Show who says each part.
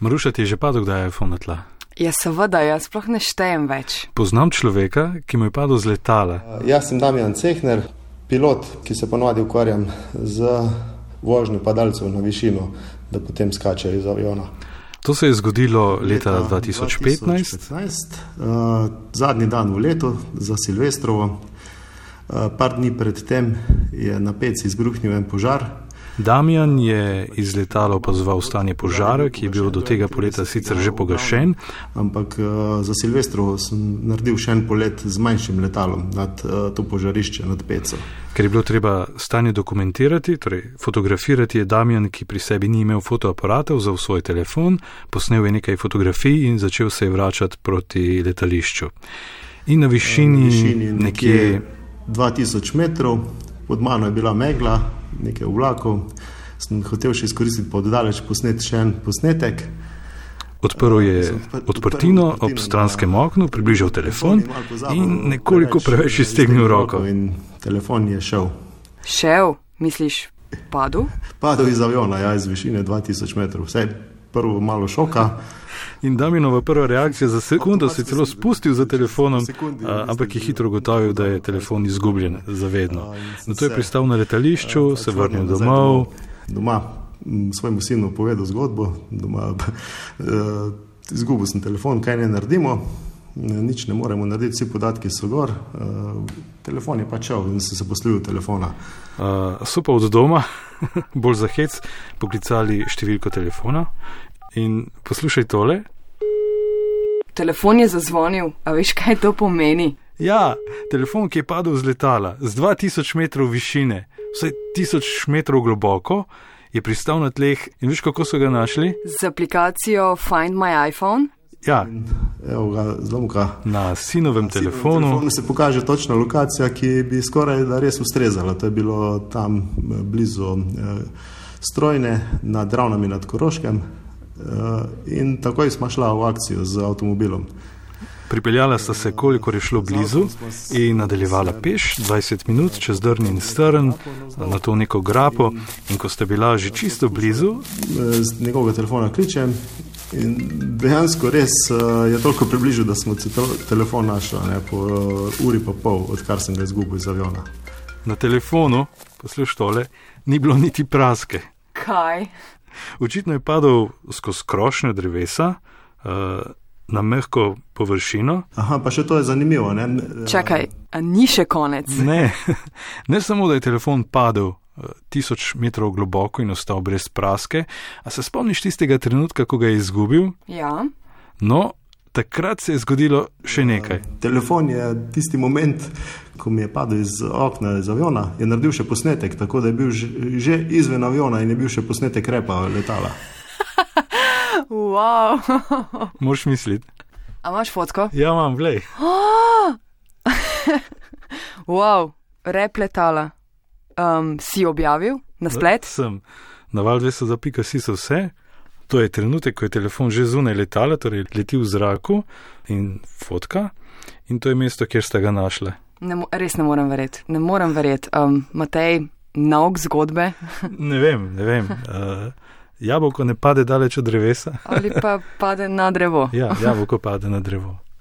Speaker 1: Maruša ti je že padel, kdaj je iPhone na tla.
Speaker 2: Ja, seveda, jaz sploh ne štejem več.
Speaker 1: Poznam človeka, ki mu je padel z letala.
Speaker 3: Jaz sem Damjan Cehner, pilot, ki se ponovadi ukvarjam z vožnjo padalcev na višino, da potem skačejo iz aviona.
Speaker 1: To se je zgodilo leta 2015.
Speaker 3: 2015 uh, zadnji dan v letu za Silvestrovo. Uh, par dni predtem je na peci izbruhnil en požar,
Speaker 1: Damjan je iz letala opazoval stanje požara, ki je bil do tega poleta sicer že pogašen.
Speaker 3: Ampak eh, za Silvestro sem naredil še en polet z manjšim letalom nad eh, to požarišče, nad Peco.
Speaker 1: Ker je bilo treba stanje dokumentirati, torej fotografirati, je Damjan, ki pri sebi ni imel fotoaparatov, vzel svoj telefon, posnel je nekaj fotografij in začel se je vračati proti letališču. In na višini, na višini nekje
Speaker 3: 2000 metrov, pod mano je bila megla, nekaj oblakov. Sem hotel še izkoristiti poddaleč, posnet še en posnetek.
Speaker 1: Odprl je odprtino ob stranskem oknu, približal telefon
Speaker 3: no,
Speaker 1: in nekoliko preveč iztegnil roko.
Speaker 3: In telefon je šel.
Speaker 2: Šel, misliš, padel?
Speaker 3: Padel iz aviona, ja, iz višine 2000 metrov. Vse prvo malo šoka.
Speaker 1: In Daminova prva reakcija za sekundo se je celo spustil za telefonom, ampak je hitro ugotovil, da je telefon izgubljen zavedno. Zato je pristal na letališču, se vrnil domov.
Speaker 3: Doma svojemu sinu povedal zgodbo, doma eh, izgubil sem telefon, kaj ne naredimo. Nič ne moremo narediti, vsi podatki so gor, uh, telefon je pač šel in sem se poslovil telefona.
Speaker 1: Uh, so pa od doma, bolj za hec, poklicali številko telefona in poslušaj tole.
Speaker 2: Telefon je zazvonil, a veš, kaj to pomeni?
Speaker 1: Ja, telefon, ki je padel z letala z 2000 metrov višine, vsaj 1000 metrov globoko, je pristal na tleh in veš, kako so ga našli?
Speaker 2: Z aplikacijo Find My iPhone.
Speaker 1: Ja.
Speaker 3: Evo ga, zlomka.
Speaker 1: Na sinovem Na telefonu. telefonu
Speaker 3: se pokaže točna lokacija, ki bi skoraj da res ustrezala. To je bilo tam blizu eh, Strojne, nad Ravnami nad Koroškem. eh, In takoj smo šla v akcijo z avtomobilom.
Speaker 1: Pripeljala sta se, kolikor je šlo blizu, in nadaljevala peš 20 minut čez drn in strn, na to neko grapo. In ko sta bila že čisto blizu,
Speaker 3: eh, z njegovega telefona kličem. In dejansko res eh, je toliko približal, da smo telefon našli po eh, uri in pol, odkar sem ga izgubil iz aviona.
Speaker 1: Na telefonu, poslušaj tole, ni bilo niti praske.
Speaker 2: Kaj?
Speaker 1: Očitno je padel skozi krošnje drevesa uh, na mehko površino.
Speaker 3: Aha, pa še to je zanimivo. Ne?
Speaker 2: Čakaj, ni še konec.
Speaker 1: Ne, ne samo, da je telefon padel. eh, Tisoč metrov globoko in ostal brez praske. A se spomniš tistega trenutka, ko ga je izgubil?
Speaker 2: Ja.
Speaker 1: No, takrat se je zgodilo še nekaj.
Speaker 3: Telefon je tisti moment, ko mi je padel iz okna iz aviona, je naredil še posnetek, tako da je bil že izven aviona in je bil še posnetek repa letala.
Speaker 2: wow.
Speaker 1: Moš misliti.
Speaker 2: A imaš fotko?
Speaker 1: Ja, imam, glej.
Speaker 2: wow, rep letala. Um, si objavil na splet?
Speaker 1: Da, sem. Naval 200.si so vse. To je trenutek, ko je telefon že zunaj letala, torej leti v zraku in fotka, in to je mesto, kjer sta ga našla.
Speaker 2: Ne, res ne morem verjeti, ne morem verjeti. Um, Matej, nauk zgodbe.
Speaker 1: ne vem, ne vem. Uh, jabolko ne pade daleč od drevesa.
Speaker 2: Ali pa pade na drevo.
Speaker 1: ja, jabolko pade na drevo.